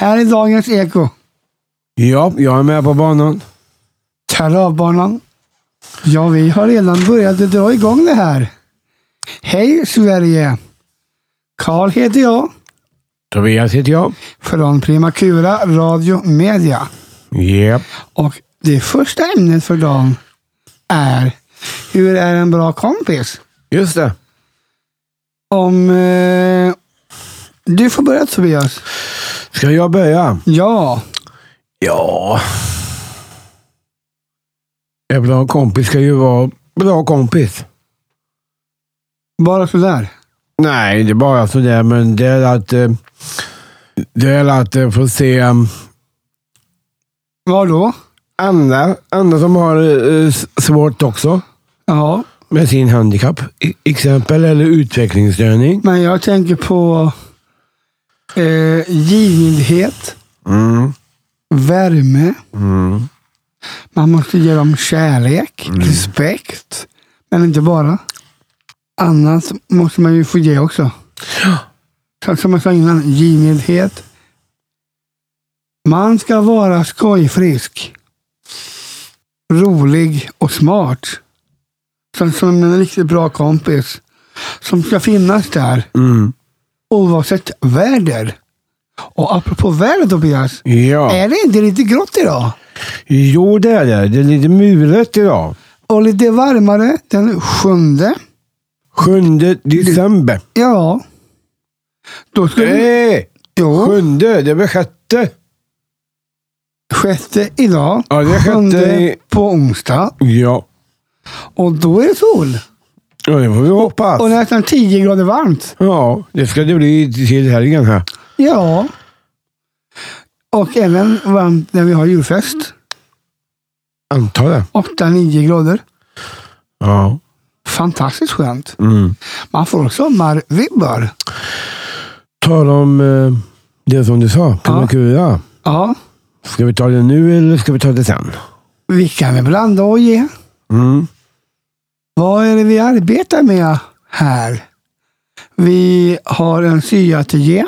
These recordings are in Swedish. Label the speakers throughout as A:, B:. A: Här är dagens eko.
B: Ja, jag är med på banan.
A: Travbanan. Ja, vi har redan börjat att dra igång det här. Hej Sverige! Karl heter jag,
B: Tobias heter jag.
A: från Primakura Radio Media.
B: Yep.
A: Och det första ämnet för dagen är Hur är en bra kompis?
B: Just det.
A: Om... Eh, du får börja Tobias.
B: Ska jag börja?
A: Ja,
B: Ja. En bra kompis ska ju vara bra kompis.
A: bara sådär.
B: Nej, det är bara sådär, men det är att... eh, Det är att eh, få se eh,
A: Vad då?
B: andra, andra som har eh, s- svårt också
A: Ja,
B: med sin handikapp. I- Exempel eller utvecklingsstörning.
A: men jag tänker på eh, givmildhet.
B: Mm.
A: värme.
B: Mm.
A: Man måste ge dem kärlek, respekt. Men inte bara. Annat måste man ju få ge också. Så som jag sa innan, givmildhet. Man ska vara skojfrisk. Rolig och smart. Så som en riktigt bra kompis. Som ska finnas där
B: Mm.
A: oavsett väder. Och apropå väder Tobias.
B: Ja.
A: Är det inte lite grått idag?
B: Jo, det är det. Det är lite mulet idag.
A: och lite varmare den sjunde.
B: 7 december.
A: Ja. Då
B: Mm.
A: ska vi...
B: Nej!
A: Jo,
B: Sjunde, det är väl sjätte?
A: sjätte idag.
B: Ja, det är sjätte
A: Sjunde
B: i-
A: på onsdag.
B: Ja.
A: Och då är det sol.
B: Ja, det får vi hoppas.
A: Och nästan 10 grader varmt.
B: Ja, det ska det bli till helgen här.
A: Ja. Och även varmt när vi har julfest.
B: Antar jag.
A: 8-9 grader.
B: Ja.
A: Fantastiskt skönt.
B: Mm.
A: Man får sommarvibbar.
B: Tala om eh, det som du sa, Primakura.
A: Ja,
B: Ska vi ta det nu eller ska vi ta det sen?
A: vi kan väl blanda och ge.
B: Mm.
A: Vad är det vi arbetar med här? Vi har en syateljé.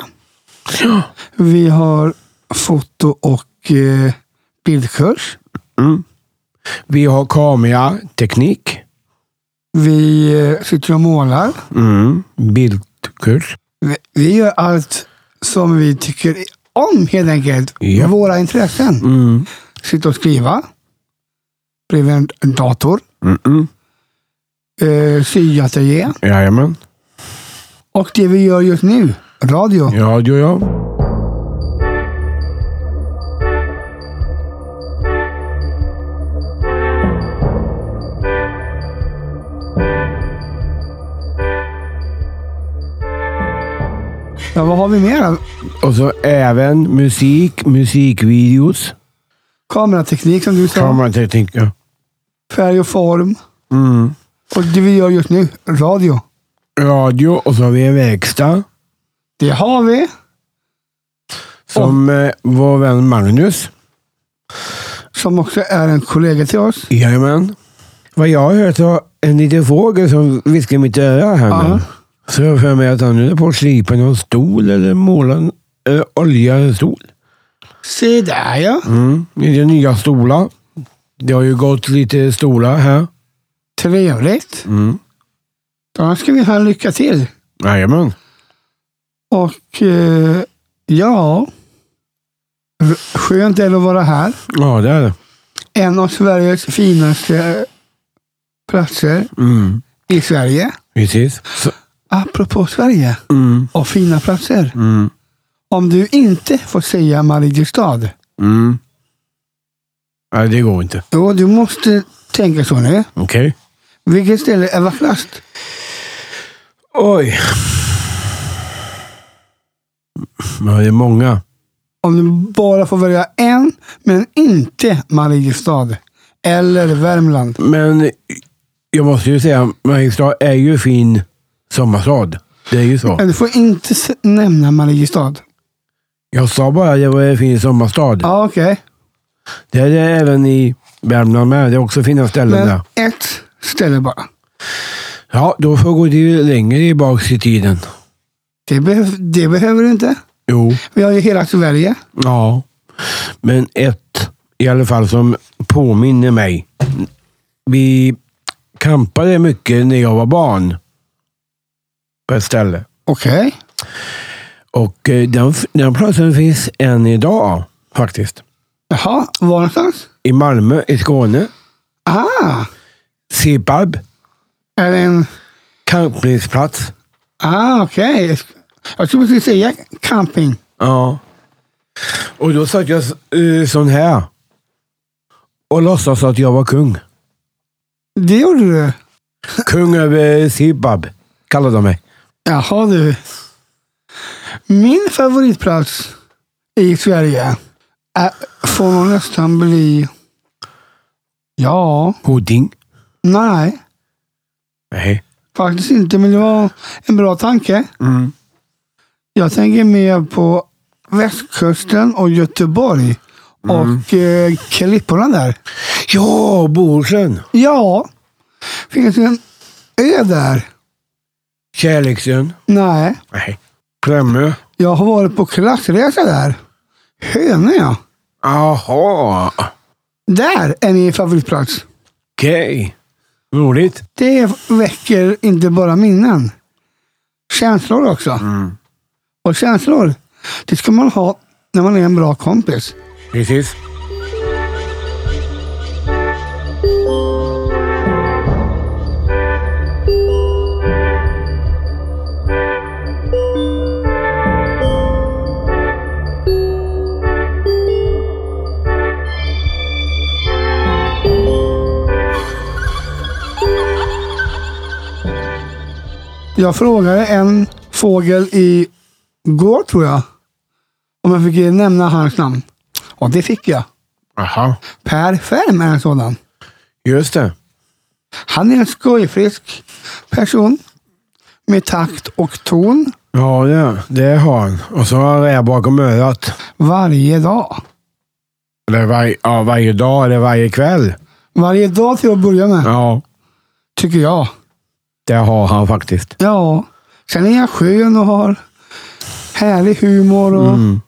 A: Vi har foto och eh, bildkurs.
B: Mm. Vi har kamerateknik.
A: Vi eh, sitter och målar.
B: Mm. Bildkurs.
A: Vi, vi gör allt som vi tycker om helt enkelt.
B: Ja.
A: Våra intressen.
B: Mm.
A: Sitta och skriva. Bredvid en dator.
B: Mm-mm.
A: Eh, syateljé.
B: Jajamän.
A: Och det vi gör just nu, radio.
B: Radio, ja.
A: Ja, vad har vi mer? då?
B: Och så även musik, musikvideos,
A: Kamerateknik som du sa.
B: kamerateknik. Ja.
A: Färg och form.
B: Mm.
A: Och det vi gör just nu, radio.
B: radio och så har vi en verkstad.
A: Det har vi.
B: Som eh, vår vän Magnus.
A: Som också är en kollega till oss.
B: Jajamän. Vad jag har hört var en liten fågel som viskar i mitt öra här
A: Ja.
B: nu. Så jag har för mig att han är på att slipa någon stol eller måla en- eller olja en stol.
A: Se där ja.
B: Mm. I de nya stolar. Det har ju gått lite stolar här.
A: Trevligt.
B: Mm.
A: Då ska vi ha lycka till.
B: Jajamän.
A: Och eh, ja. R- Skönt är det att vara här.
B: Ja, det är det.
A: En av Sveriges finaste eh, platser
B: Mm.
A: i Sverige.
B: Precis. Så,
A: Apropå Sverige
B: mm.
A: och fina platser.
B: Mm.
A: Om du inte får säga Mariestad.
B: Mm. Nej, det går inte.
A: Jo, du måste tänka så nu.
B: Okej.
A: Vilket ställe är vackrast?
B: Oj. Ja, det är många.
A: Om du bara får välja en, men inte Mariestad. Eller Värmland.
B: Men jag måste ju säga, Mariestad är ju fin sommarstad. Det är ju så.
A: Men du får inte s- nämna Mariestad.
B: Jag sa bara att det var en fin sommarstad.
A: Ja, okej.
B: Det är det även i Värmland med. Det är också fina
A: Men
B: ställen där.
A: ett ställe bara.
B: Ja, då får jag gå till längre i bak i tiden.
A: Det, behöv, det behöver du inte.
B: Jo.
A: Vi har ju hela Sverige.
B: Ja. Men ett i alla fall som påminner mig. Vi kampade mycket när jag var barn. På ett ställe.
A: Okej.
B: Och eh, den, f- den platsen finns än idag faktiskt.
A: Jaha, var någonstans?
B: I Malmö i Skåne.
A: Ah!
B: Sipab.
A: Är det en...
B: Campningsplats.
A: Ah, okej. Jag tror du skulle säga camping.
B: Ja. Och då satt jag uh, sån här. Och låtsas att jag var kung.
A: Det gjorde du.
B: Kung över Sipab. Kallade de mig.
A: Jaha du. Min favoritplats i Sverige är, får nog nästan bli... Ja,
B: Hoding.
A: nej.
B: Nej.
A: Faktiskt inte, men det var en bra tanke.
B: Mm.
A: Jag tänker mer på västkusten och Göteborg och eh, klipporna där.
B: Ja, Bohuslän.
A: Ja, finns det en ö där?
B: Kärleksön.
A: Nej,
B: Nej. Klämmö.
A: jag har varit på klassresa där. Hönö ja.
B: Jaha.
A: Där är min favoritplats.
B: Okej. Roligt.
A: Det väcker inte bara minnen. Känslor också. Och känslor, det ska man ha när man är en bra kompis.
B: Precis.
A: Jag frågade en fågel i går tror jag. Om jag fick nämna hans namn. Och det fick jag.
B: Aha.
A: Per Färm är en sådan.
B: Just det.
A: Han är en skojfrisk person. Med takt och ton.
B: Ja, det, det har han. Och så har han det bakom örat.
A: Varje dag.
B: Eller varje, ja, varje dag eller varje kväll.
A: Varje dag till att börja med.
B: Ja,
A: Tycker jag.
B: det har han faktiskt.
A: Ja. Sen är jag skön och har härlig humor. Och...
B: Mm.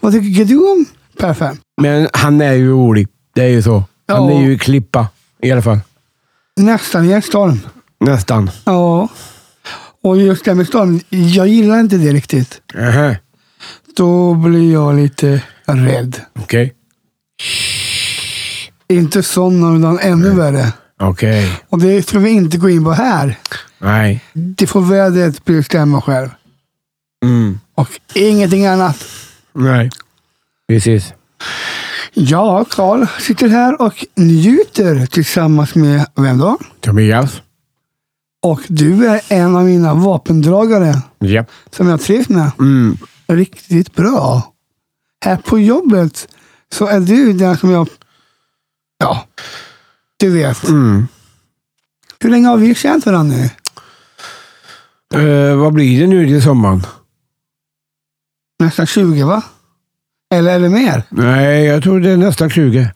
A: Vad tycker du om Per Färm?
B: Men han är ju rolig. Det är ju så. Han
A: Ja.
B: är ju i klippa i alla fall.
A: Nästan i en storm.
B: Nästan.
A: Ja. Och just det här med storm. Jag gillar inte det riktigt.
B: Aha.
A: Då blir jag lite rädd.
B: Okej.
A: Inte sådana utan ännu värre.
B: Okej.
A: Och det ska vi inte gå in på här.
B: Nej.
A: Det får vädret bestämma själv.
B: Mm.
A: Och ingenting annat.
B: Nej. Precis.
A: Jag och Karl sitter här och njuter tillsammans med vem då?
B: Tobias.
A: Och du är en av mina vapendragare
B: Ja.
A: som jag trivs med
B: Mm.
A: riktigt bra. Här på jobbet så är du den som jag... Ja, du vet.
B: Mm.
A: Hur länge har vi känt varandra nu?
B: Eh, vad blir det nu till sommaren?
A: Nästan 20 va? Eller är det mer?
B: Nej, jag tror det är nästan 20.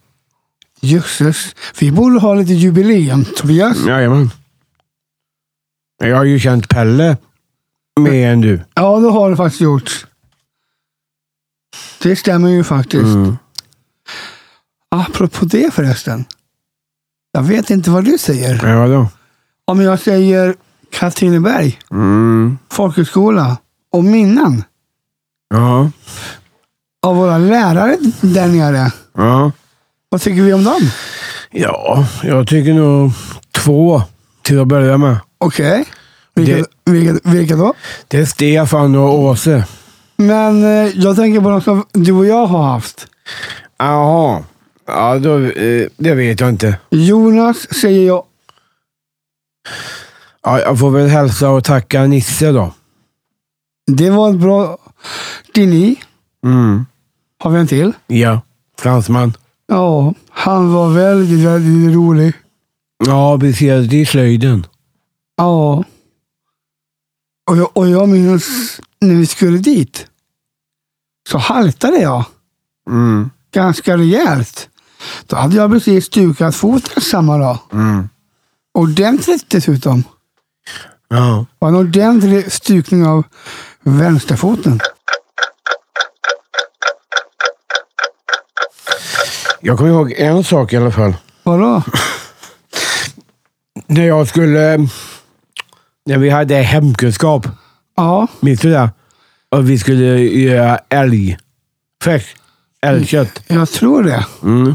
A: Jösses, vi borde ha lite jubileum Tobias.
B: Jajamän. Jag har ju känt Pelle mer än du.
A: Ja, det har det faktiskt gjort. Det stämmer ju faktiskt.
B: Mm.
A: Apropå det förresten. Jag vet inte vad du säger.
B: Ja, vadå?
A: Om jag säger Katrineberg,
B: Mm.
A: folkhögskola och minnen
B: Ja.
A: av våra lärare där nere.
B: Ja.
A: Vad tycker vi om dem?
B: Ja, jag tycker nog två till att börja med.
A: Okej. Vilka, vilka, vilka då?
B: Det är Stefan och Åse.
A: Men eh, jag tänker på de som du och jag har haft.
B: Jaha. Ja, då, eh, det vet jag inte.
A: Jonas säger jag.
B: Ja, jag får väl hälsa och tacka Nisse då.
A: Det var ett bra... Dini
B: Mm.
A: har vi en till.
B: Ja, fransman.
A: Ja, han var väldigt, väldigt rolig.
B: Ja, precis. Det är slöjden.
A: Ja. Och jag, och jag minns när vi skulle dit. Så haltade jag
B: Mm.
A: ganska rejält. Då hade jag precis stukat foten samma dag.
B: Mm.
A: Ordentligt dessutom.
B: Ja.
A: Det var en ordentlig stukning av vänsterfoten.
B: Jag kommer ihåg en sak i alla fall.
A: Vadå?
B: När jag skulle... När vi hade hemkunskap.
A: Ja,
B: Minns du det? Och vi skulle göra älg. Färs. Älgkött.
A: jag tror det.
B: Mm.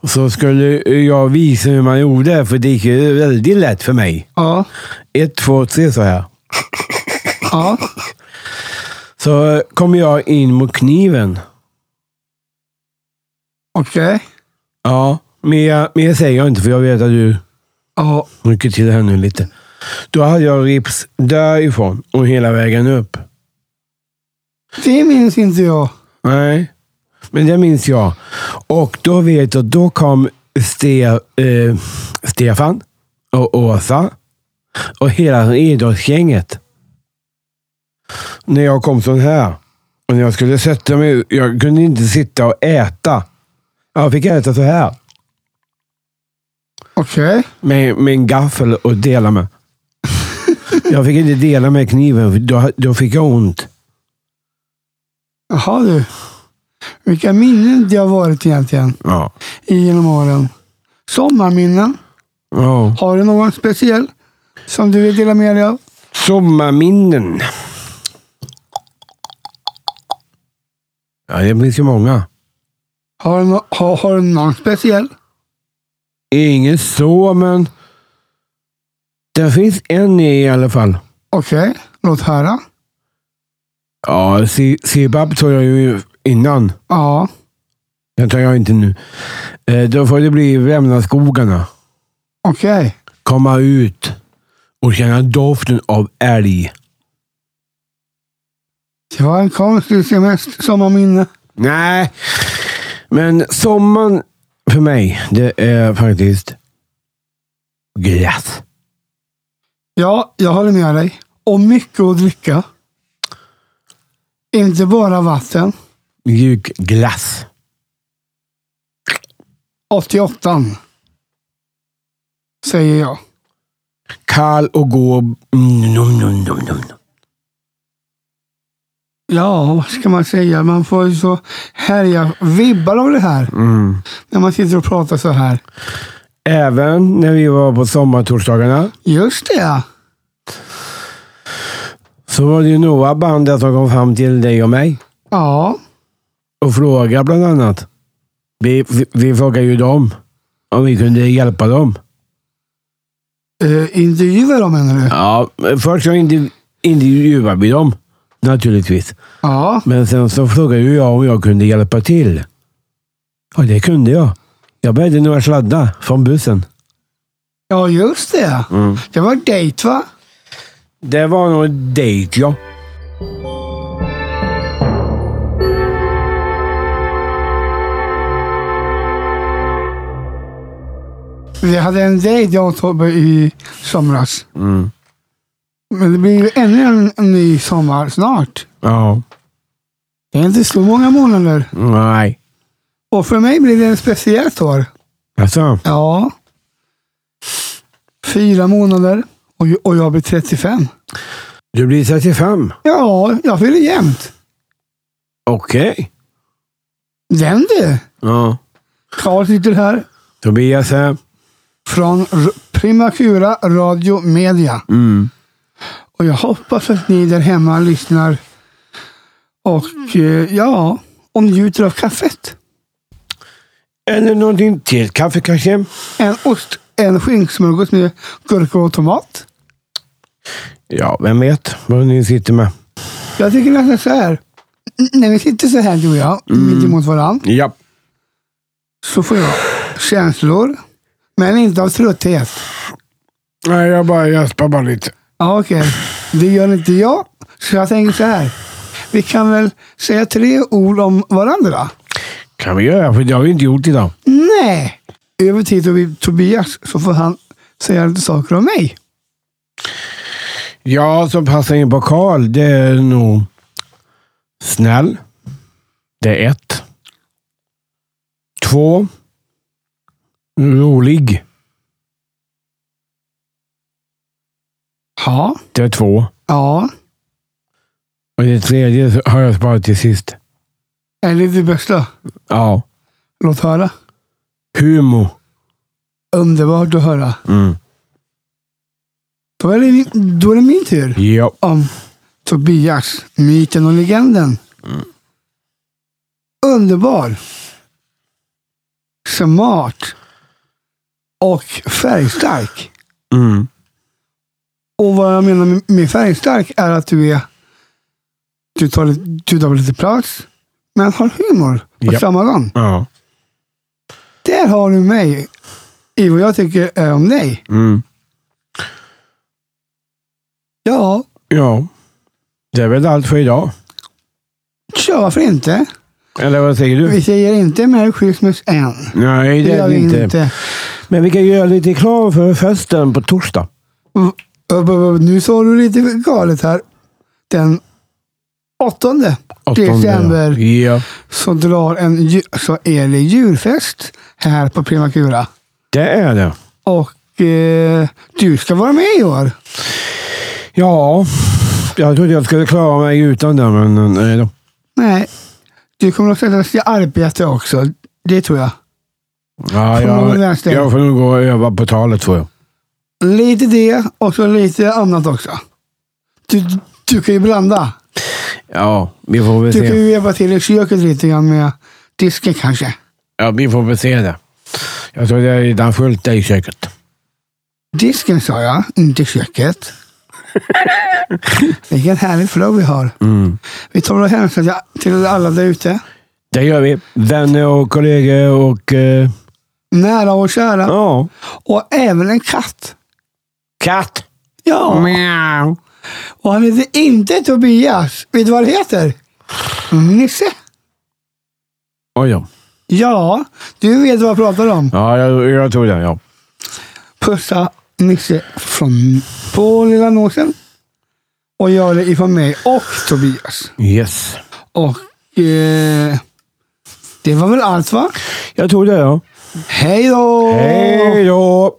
B: Och så skulle jag visa hur man gjorde, för det gick ju väldigt lätt för mig.
A: Ja,
B: Ett, två, tre sa jag.
A: ja,
B: Så kom jag in mot kniven.
A: okej.
B: Ja, mer, mer säger jag inte för jag vet att du
A: Ja,
B: rycker till här nu lite. Då hade jag rips därifrån och hela vägen upp.
A: det minns inte jag.
B: Nej, men det minns jag. Och då vet jag, då kom Ste, eh, Stefan och Åsa och hela idrottsgänget. När jag kom sån här och när jag skulle sätta mig, jag kunde inte sitta och äta. Jag fick äta så här
A: Okej.
B: med, med en gaffel och dela med. Jag fick inte dela med kniven, för då, då fick jag ont.
A: Jaha du. Vilka minnen det har varit egentligen
B: Ja.
A: genom åren. Sommarminnen.
B: ja.
A: Har du någon speciell som du vill dela med dig av?
B: Sommarminnen. Ja, det finns ju många.
A: Har du, nå- har, har du någon speciell?
B: Inget så, men det finns en i alla fall.
A: Okej, låt höra.
B: Ja, Si- Sibab tog jag ju innan.
A: Ja,
B: Den tar jag inte nu. Eh, Då får det bli Vämnaskogarna.
A: okej.
B: Komma ut och känna doften av älg.
A: Det var en konstig semester, sommarminne.
B: Nej, men sommaren för mig, det är faktiskt gräs.
A: Ja, jag håller med dig. Och mycket att dricka. Inte bara vatten.
B: Mjuk glass.
A: 88 säger jag.
B: Kall och gå. Mm, nom, nom, nom, nom.
A: Ja, vad ska man säga? Man får ju så härliga vibbar av det här.
B: Mm.
A: När man sitter och pratar så här.
B: Även när vi var på sommartorsdagarna
A: Just det!
B: så var det ju några band där som kom fram till dig och mig
A: Ja,
B: och frågade bland annat. Vi, vi, vi frågade ju dem om vi kunde hjälpa dem.
A: eh, intervjuar dem menar du?
B: Ja, men först så interv- intervjuade vi dem naturligtvis.
A: Ja,
B: Men sen så frågade ju jag om jag kunde hjälpa till. Och det kunde jag. Jag bärde några sladdar från bussen.
A: ja just det. Det var dejt va?
B: Det var nog en dejt, ja.
A: Vi hade en dejt jag och Tobbe i somras.
B: Mm.
A: Men det blir ju ännu en, en ny sommar snart.
B: Ja.
A: Det är inte så många månader.
B: Nej.
A: Och för mig blir det ett speciellt år.
B: Alltså,
A: Ja. Fyra månader och, ju- och jag blir 35.
B: du blir 35.
A: Ja, jag fyller jämnt.
B: Okej.
A: Den du!
B: Ja.
A: Karl sitter här
B: Tobias här.
A: från R- Primacura Radio Media.
B: Mm.
A: Och jag hoppas att ni där hemma lyssnar och eh, ja, och njuter av kaffet.
B: Eller någonting till. Kaffe kanske?
A: En ost, en skinksmörgås med gurka och tomat.
B: Ja, vem vet vad ni sitter med.
A: Jag tycker nästan så här. N- När vi sitter så här du och jag, mitt emot varandra,
B: Ja.
A: så får jag känslor. Men inte av trötthet.
B: Nej, jag bara gäspar bara lite.
A: Ja, okej. Det gör inte jag. Så jag tänker så här. Vi kan väl säga tre ord om varandra?
B: Kan vi göra, för det har vi inte gjort idag.
A: Nej! Över till Tobi- Tobias så får han säga lite saker om mig.
B: Ja, som passar in på Karl, det är nog snäll. Det är ett. Två. Rolig.
A: Ja.
B: Det är två.
A: Ja.
B: Och det tredje har jag sparat till sist.
A: Är det det bästa?
B: Ja.
A: Låt höra.
B: Humor.
A: Underbart att höra.
B: Mm.
A: Då är det, min- då är det min tur.
B: Ja.
A: Om Tobias, myten och legenden. Underbar. Smart. Och färgstark.
B: Mm.
A: Och vad jag menar med- med färgstark är att du är... Du tar, lite- du tar lite plats, men har humor på
B: Ja.
A: samma gång.
B: Ja.
A: Där har du mig i vad jag tycker är om dig.
B: Mm.
A: Ja,
B: Ja. Det är väl allt för idag.
A: tja varför inte?
B: Eller vad säger du?
A: Vi säger inte Merry Christmas än.
B: Nej, det är
A: gör
B: det
A: vi
B: inte.
A: inte.
B: Men vi kan göra lite reklam för festen på torsdag.
A: V- upp, upp, upp. Nu sa du lite galet här. Den åttonde december
B: Ja.
A: så drar en dju- så är det djurfest här på Primakura.
B: Det är det.
A: Och eh, du ska vara med i år.
B: Ja. Jag trodde jag skulle klara mig utan det, men nej då.
A: Nej, du kommer att sätta dig i arbete också. Det tror jag.
B: Ja,
A: Får man väl
B: jag,
A: läsa det?
B: jag får nog gå och öva på talet får jag.
A: Lite det och så lite annat också. Du, du kan ju blanda.
B: Ja, vi får väl
A: Du kan
B: se.
A: ju hjälpa till i köket lite grann med disken kanske.
B: Ja, vi får väl se det. Jag tror det är redan fullt där i köket.
A: Disken sa jag, inte köket. Vilken härlig flow vi har.
B: Mm.
A: Vi tar och hälsar till- till alla där ute.
B: Det gör vi. Vänner och kollegor och... Eh,
A: Nära och kära.
B: ja.
A: Och även en katt.
B: Katt!
A: Ja,
B: Miau.
A: och han heter inte Tobias. Vet du vad han heter? Nisse.
B: Oj då.
A: Ja, du vet vad jag pratar om.
B: Ja, jag, jag tror det. Ja.
A: Pussa Nisse från på lilla nosen. Och gör det ifrån mig och Tobias.
B: Yes.
A: Och eh, det var väl allt va?
B: Jag tror det, ja.
A: Hej då!
B: Hej då!